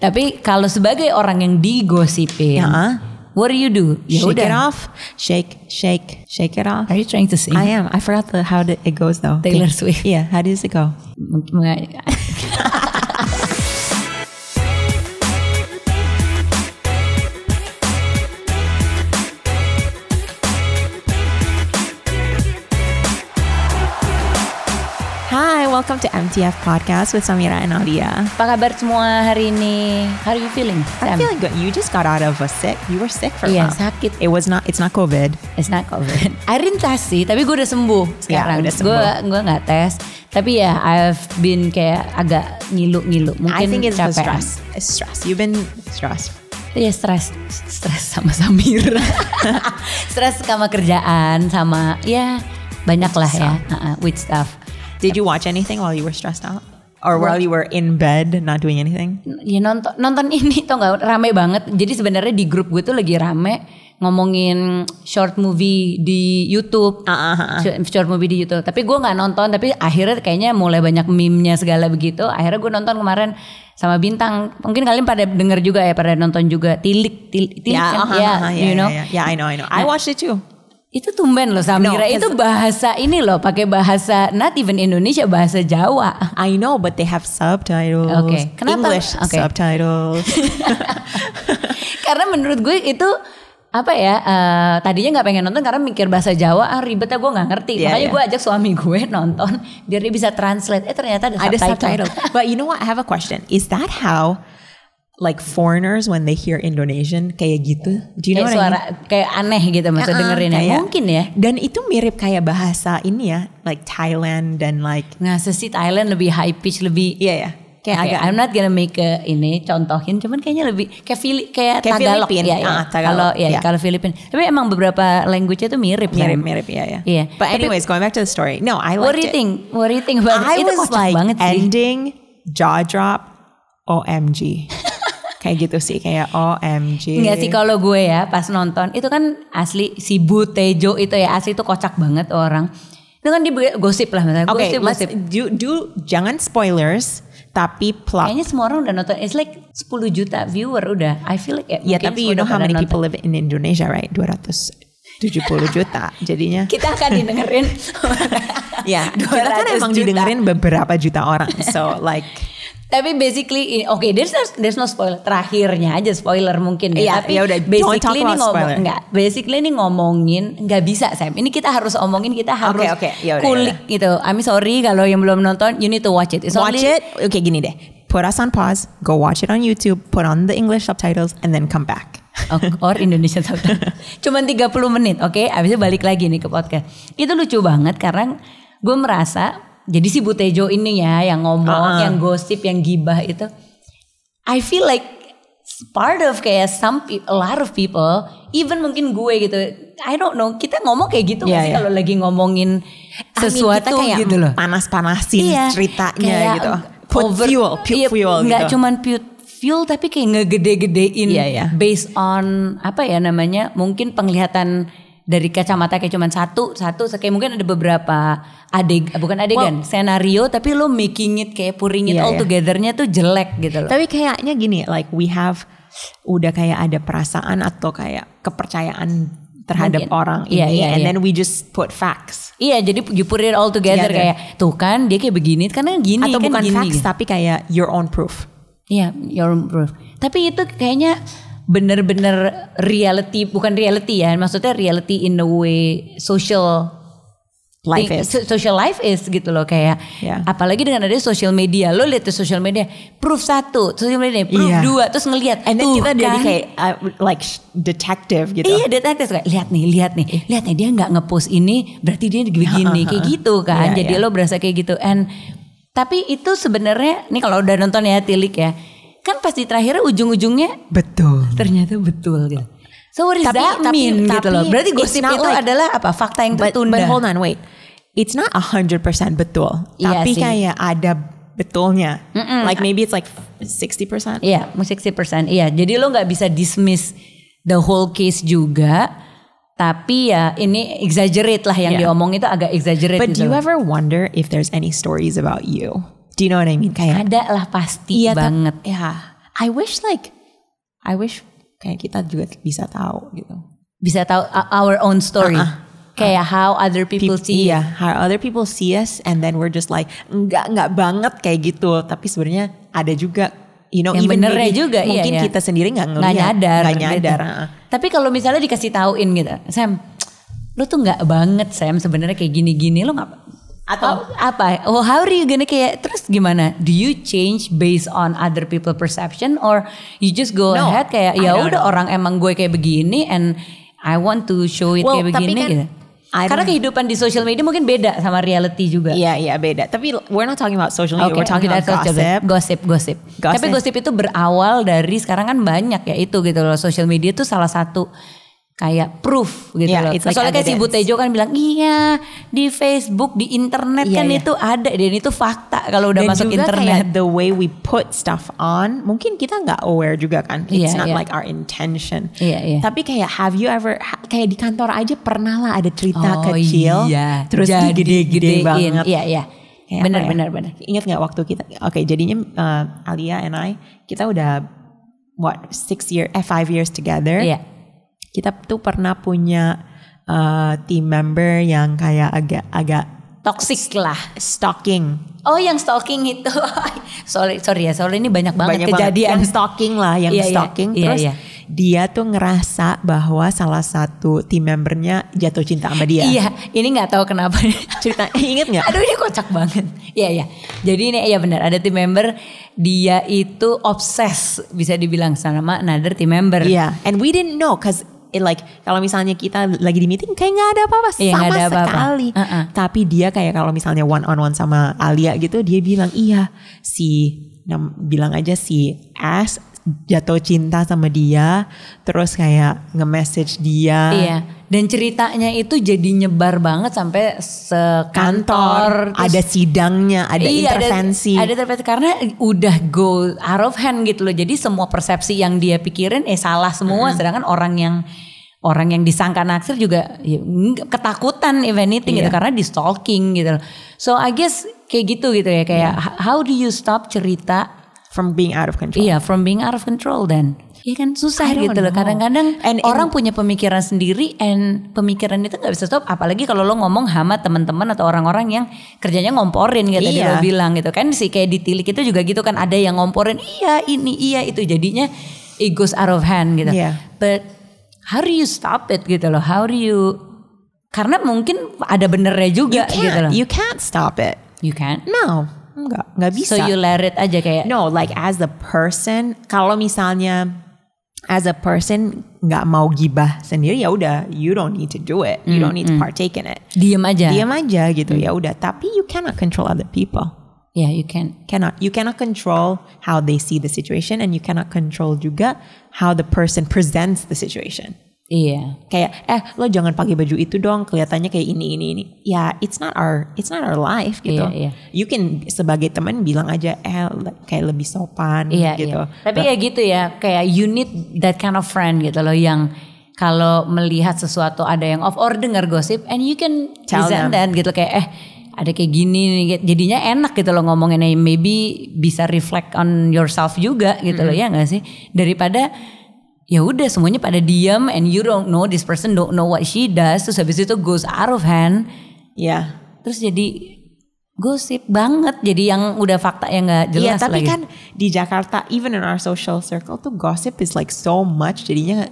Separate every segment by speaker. Speaker 1: Tapi kalau sebagai orang yang digosipin,
Speaker 2: Ya.
Speaker 1: what do you do? Ya
Speaker 2: Shake it
Speaker 1: udah.
Speaker 2: off. Shake, shake, shake it off.
Speaker 1: Are you trying to sing?
Speaker 2: I am. I forgot the, how the, it goes though.
Speaker 1: Taylor Swift.
Speaker 2: Yeah. How does it go?
Speaker 1: Mungkin-
Speaker 2: Hi, welcome to MTF Podcast with Samira and Nadia.
Speaker 1: Apa kabar semua hari ini? How are you feeling? Sam?
Speaker 2: I'm feeling good. You just got out of a sick. You were sick for a
Speaker 1: Iya
Speaker 2: month.
Speaker 1: sakit.
Speaker 2: It was not. It's not COVID.
Speaker 1: It's not COVID. I didn't tes sih, tapi gue udah sembuh sekarang.
Speaker 2: Ya, udah
Speaker 1: Gue
Speaker 2: sembuh.
Speaker 1: gue nggak tes. Tapi ya I've been kayak agak ngilu-ngilu. Mungkin
Speaker 2: I think it's the
Speaker 1: capean.
Speaker 2: stress. It's stress. You've been stressed.
Speaker 1: Iya stres, stres sama Samira. stres sama kerjaan, sama ya banyak lah ya, uh-uh, with stuff.
Speaker 2: Did you watch anything while you were stressed out, or while you were in bed not doing anything?
Speaker 1: Ya nonton nonton ini tau nggak rame banget. Jadi sebenarnya di grup gue tuh lagi rame ngomongin short movie di YouTube,
Speaker 2: Ah, ah,
Speaker 1: Short- short movie di YouTube. Tapi gue nggak nonton. Tapi akhirnya kayaknya mulai banyak meme-nya segala begitu. Akhirnya gue nonton kemarin sama bintang. Mungkin kalian pada denger juga ya, pada nonton juga tilik tilik, tilik
Speaker 2: yeah,
Speaker 1: kan?
Speaker 2: uh-huh,
Speaker 1: Ya,
Speaker 2: uh-huh, yeah,
Speaker 1: you know.
Speaker 2: yeah, yeah. Yeah, I know, I know. I watched it too.
Speaker 1: Itu tumben loh Samira,
Speaker 2: No,
Speaker 1: itu bahasa ini loh, pakai bahasa not even Indonesia, bahasa Jawa.
Speaker 2: I know, but they have subtitles.
Speaker 1: Okay. Kenapa?
Speaker 2: English
Speaker 1: Okay.
Speaker 2: subtitles.
Speaker 1: karena menurut gue itu apa ya eh, tadinya nggak pengen nonton karena mikir bahasa Jawa ah ribet ya gue nggak ngerti
Speaker 2: Iya,
Speaker 1: makanya
Speaker 2: iya.
Speaker 1: gue ajak suami gue nonton biar dia bisa translate eh ternyata ada,
Speaker 2: Ada
Speaker 1: subtitle,
Speaker 2: subtitles. but you know what? I have a question. Is that how, like foreigners when they hear Indonesian kayak gitu? Do you know
Speaker 1: Kayak
Speaker 2: what I mean?
Speaker 1: suara kayak aneh gitu masa
Speaker 2: Uh-uh,
Speaker 1: dengerin ya
Speaker 2: kayak-
Speaker 1: mungkin ya
Speaker 2: Dan itu mirip kayak bahasa ini ya, like Thailand dan like
Speaker 1: ngasa sih Thailand lebih high pitch lebih
Speaker 2: iya ya, kayak
Speaker 1: Oke,
Speaker 2: agak
Speaker 1: I'm not gonna make a, ini contohin cuman kayaknya lebih kayak Fili- kayak,
Speaker 2: Kayak
Speaker 1: Tagalog
Speaker 2: Filipin,
Speaker 1: ya, ya.
Speaker 2: ah, Tagalog,
Speaker 1: kalau ya
Speaker 2: iya.
Speaker 1: kalau Filipin tapi emang beberapa language-nya tuh mirip kan?
Speaker 2: mirip mirip ya ya.
Speaker 1: Iya.
Speaker 2: But
Speaker 1: Tapi-
Speaker 2: anyways, going back to the story. No, I liked
Speaker 1: what do you
Speaker 2: it.
Speaker 1: think what do you think about
Speaker 2: I
Speaker 1: it? itu
Speaker 2: was
Speaker 1: kocak
Speaker 2: like
Speaker 1: banget sih
Speaker 2: ending jaw drop, OMG. kayak gitu sih kayak OMG.
Speaker 1: Enggak sih kalau gue ya pas nonton itu kan asli si Bu Tejo itu ya asli itu kocak banget tuh orang. Itu kan dia be- gosip lah misalnya.
Speaker 2: Oke,
Speaker 1: gosip,
Speaker 2: let's
Speaker 1: gosip.
Speaker 2: do, do jangan spoilers, tapi plot
Speaker 1: Kayaknya semua orang udah nonton. It's like 10 juta viewer udah. I feel like ya,
Speaker 2: Ya
Speaker 1: mungkin
Speaker 2: tapi
Speaker 1: semua
Speaker 2: you know
Speaker 1: udah
Speaker 2: how
Speaker 1: pada
Speaker 2: many
Speaker 1: nonton.
Speaker 2: people live in Indonesia right? 270 juta. Jadinya
Speaker 1: kita akan didengerin.
Speaker 2: ya, kita kan
Speaker 1: 200
Speaker 2: emang
Speaker 1: juta.
Speaker 2: didengerin beberapa juta orang. So like
Speaker 1: Tapi basically oke there's no, there's no spoiler terakhirnya aja spoiler mungkin
Speaker 2: Iya,
Speaker 1: ya. Tapi
Speaker 2: ya udah,
Speaker 1: basically
Speaker 2: don't talk
Speaker 1: ini
Speaker 2: about
Speaker 1: ngomong
Speaker 2: spoiler.
Speaker 1: enggak. Basically ini ngomongin nggak bisa Sam. Ini kita harus omongin kita harus
Speaker 2: oke, ya udah,
Speaker 1: kulik gitu. I'm sorry kalau yang belum nonton you need to watch it. It's
Speaker 2: watch
Speaker 1: only-
Speaker 2: it. Oke gini deh. Put us on pause, go watch it on YouTube, put on the English subtitles and then come back.
Speaker 1: O- or Indonesian subtitle. Cuman 30 menit, oke? Abis itu balik lagi nih ke podcast. Itu lucu banget karena gue merasa jadi si Butejo ini ya yang ngomong,
Speaker 2: Uh-uh.
Speaker 1: yang gosip, yang gibah itu I feel like part of kayak some pe- a lot of people, even mungkin gue gitu. I don't know, kita ngomong kayak gitu nggak
Speaker 2: Iya,
Speaker 1: sih
Speaker 2: iya.
Speaker 1: kalau lagi ngomongin
Speaker 2: I mean,
Speaker 1: sesuatu
Speaker 2: kita kayak
Speaker 1: gitu loh.
Speaker 2: Panas-panasin ceritanya
Speaker 1: Iya, kayak
Speaker 2: gitu. Put
Speaker 1: over-
Speaker 2: fuel, put
Speaker 1: iya,
Speaker 2: fuel
Speaker 1: nggak
Speaker 2: gitu.
Speaker 1: cuman put fuel tapi kayak ngegede-gedein
Speaker 2: Iya, iya.
Speaker 1: based on apa ya namanya mungkin penglihatan dari kacamata kayak cuman satu satu kayak mungkin ada beberapa adeg bukan adegan senario tapi lo making it kayak puring it
Speaker 2: Iya,
Speaker 1: all
Speaker 2: iya.
Speaker 1: togethernya tuh jelek gitu loh
Speaker 2: Tapi kayaknya gini, like we have udah kayak ada perasaan atau kayak kepercayaan terhadap
Speaker 1: Mungkin.
Speaker 2: orang
Speaker 1: Iya,
Speaker 2: ini
Speaker 1: iya,
Speaker 2: and
Speaker 1: iya.
Speaker 2: then we just put facts.
Speaker 1: Iya jadi you put it all together
Speaker 2: Together.
Speaker 1: kayak tuh kan dia kayak begini karena gini
Speaker 2: Iya, atau
Speaker 1: kan
Speaker 2: bukan
Speaker 1: gini,
Speaker 2: facts
Speaker 1: gitu.
Speaker 2: tapi kayak your own proof.
Speaker 1: Iya, your own proof. Tapi itu kayaknya bener-bener reality, bukan reality ya. Maksudnya reality in the way social
Speaker 2: Life
Speaker 1: thing-
Speaker 2: is.
Speaker 1: so- social life is gitu loh kayak.
Speaker 2: Iya.
Speaker 1: Apalagi dengan ada social media, lo lihat tuh social media, proof satu, social media, proof
Speaker 2: Iya.
Speaker 1: dua, terus ngelihat.
Speaker 2: And then
Speaker 1: tuh
Speaker 2: kita jadi
Speaker 1: kan.
Speaker 2: kayak uh, like sh- detective gitu. Iya.
Speaker 1: Iya detektif kayak lihat nih, lihat nih, lihat nih dia nggak ngepost ini, berarti dia begini, kayak gitu kan.
Speaker 2: Iya,
Speaker 1: Jadi
Speaker 2: iya.
Speaker 1: lo berasa kayak gitu. And tapi itu sebenarnya nih kalau udah nonton ya Tilik ya, kan pasti terakhirnya ujung-ujungnya
Speaker 2: Betul.
Speaker 1: ternyata betul gitu. So what does
Speaker 2: Tapi-
Speaker 1: that
Speaker 2: tapi-
Speaker 1: mean gitu
Speaker 2: tapi
Speaker 1: loh? Berarti
Speaker 2: it's
Speaker 1: gosip
Speaker 2: not
Speaker 1: itu
Speaker 2: like-
Speaker 1: adalah apa fakta yang
Speaker 2: But,
Speaker 1: tertunda?
Speaker 2: but hold on, wait. It's not 100% betul.
Speaker 1: Iya
Speaker 2: tapi
Speaker 1: sih.
Speaker 2: kayak ada betulnya. Like maybe it's like 60%.
Speaker 1: Iya, musik sih persen. Iya, jadi lo nggak bisa dismiss the whole case juga. Tapi ya ini exaggerate lah yang
Speaker 2: Iya.
Speaker 1: diomong itu agak exaggerate
Speaker 2: But do
Speaker 1: gitu.
Speaker 2: you
Speaker 1: loh.
Speaker 2: ever wonder if there's any stories about you? Do you know what I mean? Kayak
Speaker 1: Ada lah pasti
Speaker 2: tap-
Speaker 1: banget.
Speaker 2: Iya, ya. I wish like I wish kayak kita juga bisa tahu gitu.
Speaker 1: bisa tahu uh, our own story kayak how other people see ya.
Speaker 2: Uh-uh. Iya, how other people see us and then we're just like enggak enggak banget kayak gitu. Tapi sebenarnya ada juga you know
Speaker 1: Yang
Speaker 2: even
Speaker 1: benernya
Speaker 2: maybe
Speaker 1: juga, iya,
Speaker 2: mungkin
Speaker 1: iya.
Speaker 2: kita sendiri nggak
Speaker 1: nggak
Speaker 2: ngelihat
Speaker 1: nyadar
Speaker 2: nggak nyadar.
Speaker 1: gitu.
Speaker 2: ah.
Speaker 1: tapi kalau misalnya dikasih tauin gitu Sam lu tuh nggak banget Sam sebenarnya kayak gini-gini lu nggak
Speaker 2: Atau-
Speaker 1: How- apa oh how are you gonna kayak terus gimana do you change based on other people perception or you just go
Speaker 2: No,
Speaker 1: ahead kayak
Speaker 2: I
Speaker 1: ya
Speaker 2: don't
Speaker 1: udah
Speaker 2: know."
Speaker 1: orang emang gue kayak begini and I want to show it
Speaker 2: Well,
Speaker 1: kayak
Speaker 2: tapi
Speaker 1: begini
Speaker 2: kan,
Speaker 1: gitu
Speaker 2: I don't-
Speaker 1: karena kehidupan di social media mungkin beda sama reality juga
Speaker 2: Iya iya beda. Tapi we're not talking about social media.
Speaker 1: Oke,
Speaker 2: we're talking
Speaker 1: kita
Speaker 2: about
Speaker 1: harus
Speaker 2: Iya, gossip.
Speaker 1: coba- gossip, gossip,
Speaker 2: Gossip.
Speaker 1: Tapi gosip itu berawal dari sekarang kan banyak ya itu gitu loh. Social media itu salah satu kayak proof gitu
Speaker 2: Yeah,
Speaker 1: loh.
Speaker 2: Ya, it's like
Speaker 1: Soalnya kayak si
Speaker 2: evidence.
Speaker 1: Butejo kan bilang iya di Facebook, di internet
Speaker 2: Iya,
Speaker 1: kan
Speaker 2: iya.
Speaker 1: itu ada dan itu fakta kalau udah
Speaker 2: Dan
Speaker 1: masuk
Speaker 2: juga
Speaker 1: internet.
Speaker 2: kayak the way we put stuff on, mungkin kita nggak aware juga kan. It's
Speaker 1: Iya,
Speaker 2: not
Speaker 1: iya.
Speaker 2: like our intention.
Speaker 1: Iya, iya.
Speaker 2: Tapi kayak have you ever ha- kayak di kantor aja pernah lah ada
Speaker 1: Oh,
Speaker 2: cerita kecil,
Speaker 1: iya.
Speaker 2: terus
Speaker 1: Jadi gedein.
Speaker 2: digede-gede banget.
Speaker 1: Iya, iya.
Speaker 2: Kayak
Speaker 1: Benar,
Speaker 2: apa ya?
Speaker 1: benar, benar.
Speaker 2: Ingat nggak waktu kita? Oke, jadinya uh, Alia and I kita udah what six year, eh five years together.
Speaker 1: Iya.
Speaker 2: Kita tuh pernah punya uh, team member yang kayak agak-agak
Speaker 1: Toxic lah.
Speaker 2: stalking
Speaker 1: Oh, yang stalking itu. sorry, sorry ya. Soalnya ini banyak banget
Speaker 2: banyak
Speaker 1: kejadian.
Speaker 2: banget. yang stalking lah yang
Speaker 1: Iya, iya.
Speaker 2: stalking
Speaker 1: Iya,
Speaker 2: terus
Speaker 1: iya.
Speaker 2: dia tuh ngerasa bahwa salah satu tim membernya jatuh cinta sama dia
Speaker 1: Iya, ini nggak tahu kenapa.
Speaker 2: cerita inget nggak
Speaker 1: Aduh ini kocak banget. Iya ya. Jadi ini ya benar ada tim member dia itu obses bisa dibilang sama another tim member.
Speaker 2: Iya, and we didn't know cause it like kalau misalnya kita lagi di meeting kayak nggak ada apa-apa
Speaker 1: Iya,
Speaker 2: sama
Speaker 1: nggak ada apa-apa.
Speaker 2: sekali.
Speaker 1: Uh-uh.
Speaker 2: Tapi dia kayak kalau misalnya one on one sama Alia gitu, dia bilang iya si nam- bilang aja si Ash jatuh cinta sama dia, terus kayak nge-message dia.
Speaker 1: Iya. Dan ceritanya itu jadi nyebar banget sampai sekantor.
Speaker 2: kantor, ada sidangnya, ada
Speaker 1: Iya,
Speaker 2: intervensi.
Speaker 1: Ada, intervensi karena udah go out of hand gitu loh. Jadi semua persepsi yang dia pikirin eh salah semua sedangkan orang yang orang yang disangka naksir juga ya, nggak- ketakutan if anything
Speaker 2: Iya.
Speaker 1: gitu karena di stalking gitu loh. So I guess kayak gitu gitu ya
Speaker 2: Iya.
Speaker 1: kayak h- how do you stop cerita
Speaker 2: from being out of control.
Speaker 1: Iya, from being out of control then. Iya kan susah
Speaker 2: I don't
Speaker 1: gitu loh.
Speaker 2: know.
Speaker 1: Kadang-kadang
Speaker 2: And- and-
Speaker 1: orang punya pemikiran sendiri and pemikiran itu nggak bisa stop. Apalagi kalau lo ngomong sama teman-teman atau orang-orang yang kerjanya ngomporin kayak tadi
Speaker 2: Iya.
Speaker 1: lo bilang gitu kan sih kayak di tilik itu juga gitu kan ada yang ngomporin iya ini iya itu jadinya it goes out of hand gitu.
Speaker 2: Iya.
Speaker 1: But how do you stop it gitu loh? How do you karena mungkin ada benernya
Speaker 2: You
Speaker 1: juga gitu
Speaker 2: can't,
Speaker 1: loh.
Speaker 2: you can't stop it.
Speaker 1: You can.
Speaker 2: No, enggak, enggak bisa.
Speaker 1: So you let it aja kayak
Speaker 2: no, like as the person, kalau misalnya as a person nggak mau gibah sendiri ya udah, you don't need to do it. You don't need to partake in it.
Speaker 1: diem aja.
Speaker 2: Diam aja gitu ya udah, tapi you cannot control other people.
Speaker 1: Yeah, you can.
Speaker 2: Cannot. You cannot control how they see the situation and you cannot control juga how the person presents the situation.
Speaker 1: Iya.
Speaker 2: kayak eh lo jangan pakai baju itu dong kelihatannya kayak ini ini ini ya it's not our it's not our life gitu
Speaker 1: Iya, iya.
Speaker 2: you can sebagai teman bilang aja eh le- kayak lebih sopan
Speaker 1: Iya,
Speaker 2: gitu
Speaker 1: iya. Tapi ya gitu ya, kayak you need that kind of friend gitu loh yang kalau melihat sesuatu ada yang off or dengar gosip and you can
Speaker 2: Tell
Speaker 1: present that gitu kayak eh ada kayak gini nih gitu. jadinya enak gitu loh ngomonginnya maybe bisa reflect on yourself juga gitu
Speaker 2: Hmm.
Speaker 1: loh ya gak sih daripada ya udah semuanya pada diam and you don't know this person don't know what she does terus habis itu goes out of hand
Speaker 2: ya
Speaker 1: terus jadi gosip banget jadi yang udah fakta yang nggak
Speaker 2: Iya,
Speaker 1: jelas
Speaker 2: tapi
Speaker 1: lagi
Speaker 2: kan di Jakarta even in our social circle tuh gossip is like so much jadinya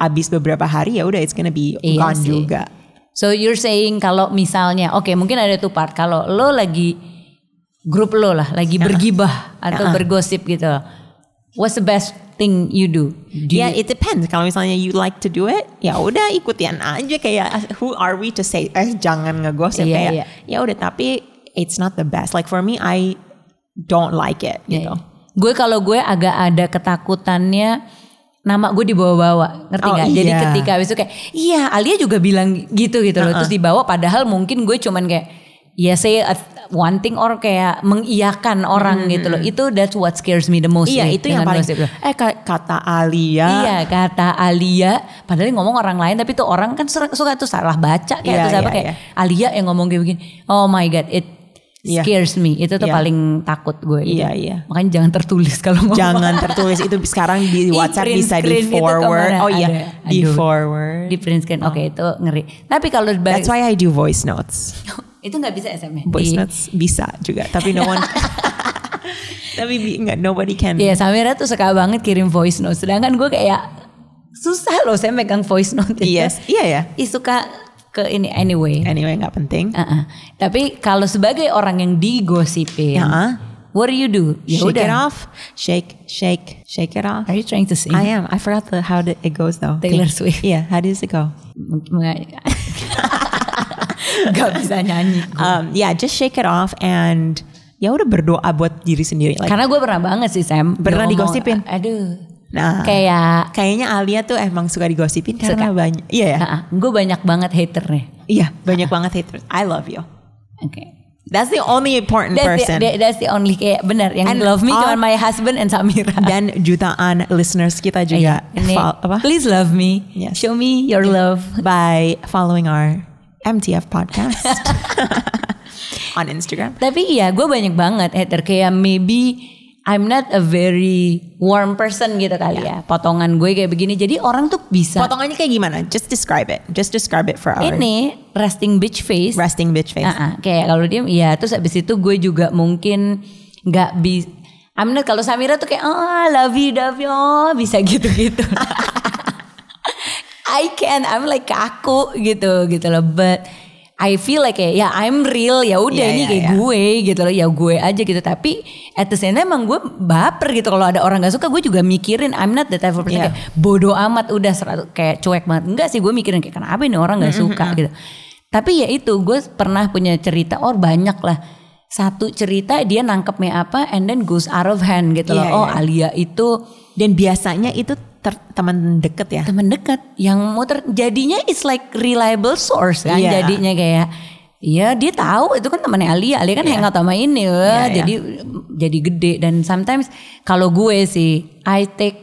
Speaker 2: abis beberapa hari ya udah it's gonna be
Speaker 1: Iya
Speaker 2: gone
Speaker 1: sih.
Speaker 2: juga
Speaker 1: So you're saying kalau misalnya, oke mungkin ada tuh part kalau lo lagi grup lo lah lagi
Speaker 2: Ya.
Speaker 1: bergibah atau bergosip gitu, what's the best thing you do? Do
Speaker 2: Ya,
Speaker 1: you-
Speaker 2: it depends. Kalau misalnya you like to do it, ya udah ikutin aja kayak who are we to say eh jangan ngegosip
Speaker 1: Iya,
Speaker 2: kayak
Speaker 1: iya.
Speaker 2: ya udah tapi it's not the best. Like for me I don't like it gitu.
Speaker 1: Gue kalau gue agak ada ketakutannya nama gue dibawa-bawa, ngerti
Speaker 2: Oh,
Speaker 1: nggak? Jadi
Speaker 2: iya.
Speaker 1: ketika habis itu kayak, iya Alia juga bilang gitu gitu loh, terus dibawa padahal mungkin gue cuman kayak ya saya one thing or kayak mengiyakan orang gitu loh. Itu that's what scares me the most.
Speaker 2: Hmm, Iya,
Speaker 1: sih,
Speaker 2: itu yang
Speaker 1: dengan
Speaker 2: paling
Speaker 1: gosip.
Speaker 2: eh ka- kata ya. Alia.
Speaker 1: Iya kata Alia Padahal yang ngomong orang lain Tapi tuh orang kan sur- suka tuh salah baca Kayak
Speaker 2: Iya,
Speaker 1: terus apa
Speaker 2: iya,
Speaker 1: kayak Alia yang ngomong kayak begini Oh my god it
Speaker 2: Iya.
Speaker 1: scares me. Itu tuh
Speaker 2: Iya.
Speaker 1: paling takut gue. Jadi,
Speaker 2: Iya, iya.
Speaker 1: Makanya jangan tertulis kalau ngomong.
Speaker 2: Jangan tertulis itu sekarang di WhatsApp
Speaker 1: print
Speaker 2: bisa
Speaker 1: screen
Speaker 2: di
Speaker 1: itu
Speaker 2: forward.
Speaker 1: kemana
Speaker 2: Oh iya,
Speaker 1: ada.
Speaker 2: di
Speaker 1: Aduh.
Speaker 2: forward.
Speaker 1: di print screen. Oke, itu ngeri. Tapi kalau ba-
Speaker 2: Oh. That's why I do voice notes.
Speaker 1: itu nggak bisa SMS.
Speaker 2: Voice
Speaker 1: Di-
Speaker 2: notes bisa juga, tapi no one. tapi bi- nggak nobody can.
Speaker 1: Iya, Samira tuh suka banget kirim voice note. Sedangkan gue kayak susah loh saya megang voice note. itu.
Speaker 2: Yes, iya ya.
Speaker 1: Ih, suka ke ini anyway.
Speaker 2: Anyway, nggak penting.
Speaker 1: Uh-uh. Tapi kalau sebagai orang yang digosipin,
Speaker 2: Uh-uh.
Speaker 1: what do you do? ah. Ya
Speaker 2: shake it
Speaker 1: udah.
Speaker 2: off, shake, shake, shake it off.
Speaker 1: Are you trying to sing?
Speaker 2: I am. I forgot the, how the, it goes though.
Speaker 1: Taylor
Speaker 2: Okay.
Speaker 1: Swift.
Speaker 2: Yeah, how does it go?
Speaker 1: Gak bisa nyanyi.
Speaker 2: Um, yeah, just shake it off and ya udah berdoa buat diri sendiri. Like,
Speaker 1: Karena gue pernah banget sih Sam. Dia
Speaker 2: Pernah
Speaker 1: ngomong,
Speaker 2: digosipin?
Speaker 1: Aduh.
Speaker 2: nah,
Speaker 1: Kayak
Speaker 2: kayaknya Alia tuh emang suka digosipin karena banyak. Iya ya.
Speaker 1: gue banyak banget haternya.
Speaker 2: Iya, banyak banget haters. I love you.
Speaker 1: Oke.
Speaker 2: That's the only important
Speaker 1: That's,
Speaker 2: person.
Speaker 1: the, that's the only kayak benar yang
Speaker 2: And
Speaker 1: love me
Speaker 2: all-
Speaker 1: cuma my husband and Samira.
Speaker 2: Dan jutaan listeners kita juga
Speaker 1: Iya, ini,
Speaker 2: fol- apa?
Speaker 1: Please love me.
Speaker 2: Yes.
Speaker 1: Show me your love.
Speaker 2: by following our MTF podcast on Instagram.
Speaker 1: Tapi iya, gue banyak banget hater kayak maybe I'm not a very warm person gitu kali
Speaker 2: Iya.
Speaker 1: ya. Potongan gue kayak begini. Jadi orang tuh bisa
Speaker 2: Potongannya kayak gimana? Just describe it. Just describe it for our
Speaker 1: Nah. ini resting bitch face.
Speaker 2: resting bitch face.
Speaker 1: Ah, ah. kayak kalau dia ya terus abis itu gue juga mungkin nggak bisa I'm not kalau Samira tuh kayak ah love you love you oh," bisa gitu-gitu I can I'm like kaku gitu gitu loh but I feel like kayak ya I'm real ya udah
Speaker 2: Iya,
Speaker 1: ini
Speaker 2: iya,
Speaker 1: kayak
Speaker 2: iya.
Speaker 1: gue gitu loh ya gue aja gitu tapi at the same time emang gue baper gitu kalau ada orang gak suka gue juga mikirin I'm not the type of person
Speaker 2: Iya.
Speaker 1: kayak bodoh amat udah seratu- kayak cuek banget enggak sih gue mikirin kayak kenapa ini orang nggak suka gitu tapi ya itu gue pernah punya cerita oh banyak lah satu cerita dia nangkepnya apa and then goes out of hand gitu
Speaker 2: Iya,
Speaker 1: loh oh
Speaker 2: iya.
Speaker 1: Alia itu
Speaker 2: Dan biasanya itu ter- teman deket ya.
Speaker 1: teman dekat yang muter jadinya it's like reliable source kan
Speaker 2: Iya.
Speaker 1: jadinya kayak Iya dia tahu itu kan temannya Alia, Alia kan hangout sama ini, wah,
Speaker 2: Iya, iya.
Speaker 1: jadi jadi gede dan sometimes kalau gue sih I take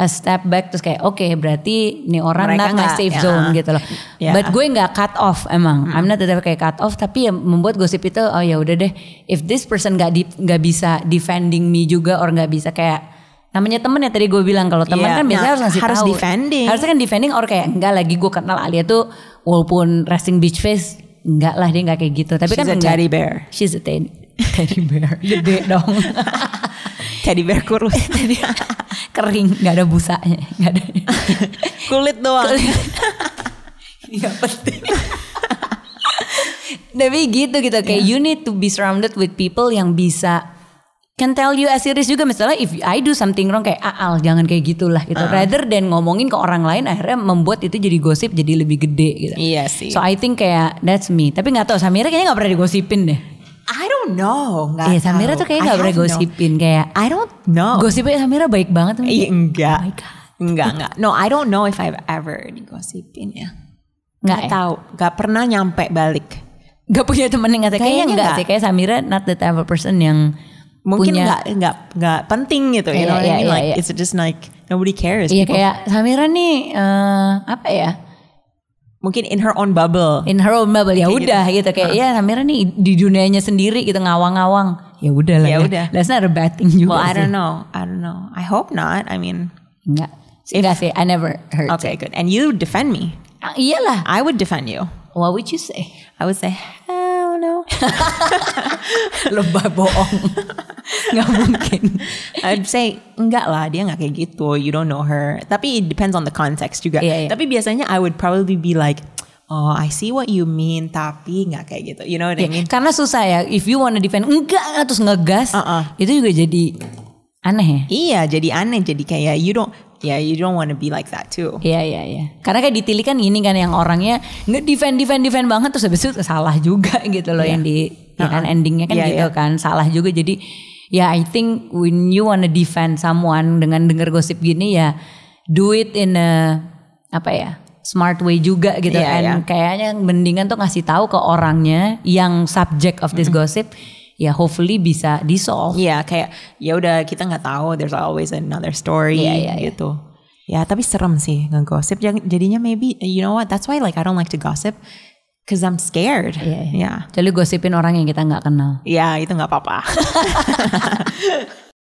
Speaker 1: a step back terus kayak oke berarti ini orang
Speaker 2: Mereka
Speaker 1: not my
Speaker 2: nggak,
Speaker 1: safe
Speaker 2: ya. Hmm.
Speaker 1: zone gitu loh.
Speaker 2: Ya.
Speaker 1: But gue nggak cut off emang, I'm not the type kayak cut off tapi ya membuat gosip itu oh ya udah deh if this person nggak di- nggak bisa defending me juga or nggak bisa kayak namanya temen ya tadi gue bilang kalau teman
Speaker 2: Iya,
Speaker 1: kan biasanya
Speaker 2: nah,
Speaker 1: harus ngasih
Speaker 2: harus
Speaker 1: tahu.
Speaker 2: defending.
Speaker 1: Harusnya kan defending or kayak enggak lagi gue kenal Alia tuh walaupun resting beach face enggak lah dia enggak kayak gitu. Tapi kan
Speaker 2: She's a
Speaker 1: enggak.
Speaker 2: teddy bear.
Speaker 1: She's a teddy, teddy bear. Gede dong.
Speaker 2: Teddy bear kurus.
Speaker 1: Teddy kering, enggak ada busanya, enggak ada.
Speaker 2: Kulit doang. Iya,
Speaker 1: Enggak penting. Tapi gitu gitu kayak
Speaker 2: Iya.
Speaker 1: you need to be surrounded with people yang bisa can tell you as it is juga misalnya if I do something wrong kayak aal jangan kayak gitulah gitu
Speaker 2: Ah.
Speaker 1: rather than ngomongin ke orang lain akhirnya membuat itu jadi gosip jadi lebih gede gitu.
Speaker 2: Iya sih.
Speaker 1: So I think kayak that's me. Tapi nggak tahu Samira kayaknya nggak pernah digosipin deh.
Speaker 2: I don't know. Nggak
Speaker 1: Iya Samira
Speaker 2: tahu.
Speaker 1: tuh kayaknya
Speaker 2: I
Speaker 1: nggak pernah
Speaker 2: have no-
Speaker 1: gosipin kayak
Speaker 2: I don't know.
Speaker 1: gosipnya Samira baik banget. Tapi
Speaker 2: Iya,
Speaker 1: kayak, Oh
Speaker 2: enggak.
Speaker 1: my God.
Speaker 2: enggak, enggak. No, I don't know if I've ever digosipin ya.
Speaker 1: Nggak
Speaker 2: Nggak
Speaker 1: ya?
Speaker 2: tahu. Nggak pernah nyampe balik.
Speaker 1: Gak punya temen yang kata kayaknya
Speaker 2: Kayaknya
Speaker 1: enggak
Speaker 2: nggak.
Speaker 1: sih kayak Samira not the type of person yang
Speaker 2: Mungkin
Speaker 1: punya
Speaker 2: nggak nggak nggak penting gitu.
Speaker 1: Iya,
Speaker 2: You know what I
Speaker 1: iya,
Speaker 2: mean?
Speaker 1: iya,
Speaker 2: like
Speaker 1: iya.
Speaker 2: it's just like nobody cares.
Speaker 1: Iya
Speaker 2: People-
Speaker 1: kayak Samira nih eh, apa ya
Speaker 2: mungkin in her own bubble.
Speaker 1: in her own bubble ya
Speaker 2: Kayak Ah.
Speaker 1: udah gitu, kayak ya Samira nih di dunianya sendiri gitu ngawang-ngawang ya udah lah
Speaker 2: Ya
Speaker 1: ya
Speaker 2: udah.
Speaker 1: that's not a bad thing juga
Speaker 2: Well, I
Speaker 1: sih.
Speaker 2: don't know. I don't know. I hope not. I mean,
Speaker 1: enggak enggak sih I never heard
Speaker 2: okay, good. And you defend me.
Speaker 1: Ah, iyalah
Speaker 2: I would defend you.
Speaker 1: what would you say
Speaker 2: I would say, hell no.
Speaker 1: lebah bohong nggak mungkin
Speaker 2: I'd say enggak lah dia nggak kayak gitu you don't know her tapi it depends on the context juga
Speaker 1: Iya, iya.
Speaker 2: tapi biasanya I would probably be like oh I see what you mean tapi nggak kayak gitu you know what I mean
Speaker 1: karena susah ya if you wanna defend enggak terus ngegas
Speaker 2: Uh-uh.
Speaker 1: itu juga jadi aneh ya
Speaker 2: iya jadi aneh jadi kayak you don't yeah you don't want to be like that too
Speaker 1: Iya iya iya. Karena kayak ditili kan gini kan yang orangnya nge defend defend defend banget terus habis itu salah juga gitu loh yang di ya kan endingnya kan
Speaker 2: Iya,
Speaker 1: gitu
Speaker 2: iya.
Speaker 1: kan salah juga jadi ya I think when you wanna defend someone dengan denger gosip gini ya do it in a apa ya smart way juga gitu
Speaker 2: Iya,
Speaker 1: and
Speaker 2: iya.
Speaker 1: kayaknya mendingan tuh ngasih tahu ke orangnya yang subject of this gossip ya hopefully bisa di solve.
Speaker 2: Iya kayak ya udah kita nggak tahu there's always another story
Speaker 1: Iya, iya, iya.
Speaker 2: gitu. Ya tapi serem sih ngegosip Jad- jadinya maybe you know what that's why like I don't like to gossip Cause I'm scared. ya,
Speaker 1: Iya,
Speaker 2: Yeah.
Speaker 1: Jadi gosipin orang yang kita nggak kenal.
Speaker 2: Ya, itu nggak apa-apa.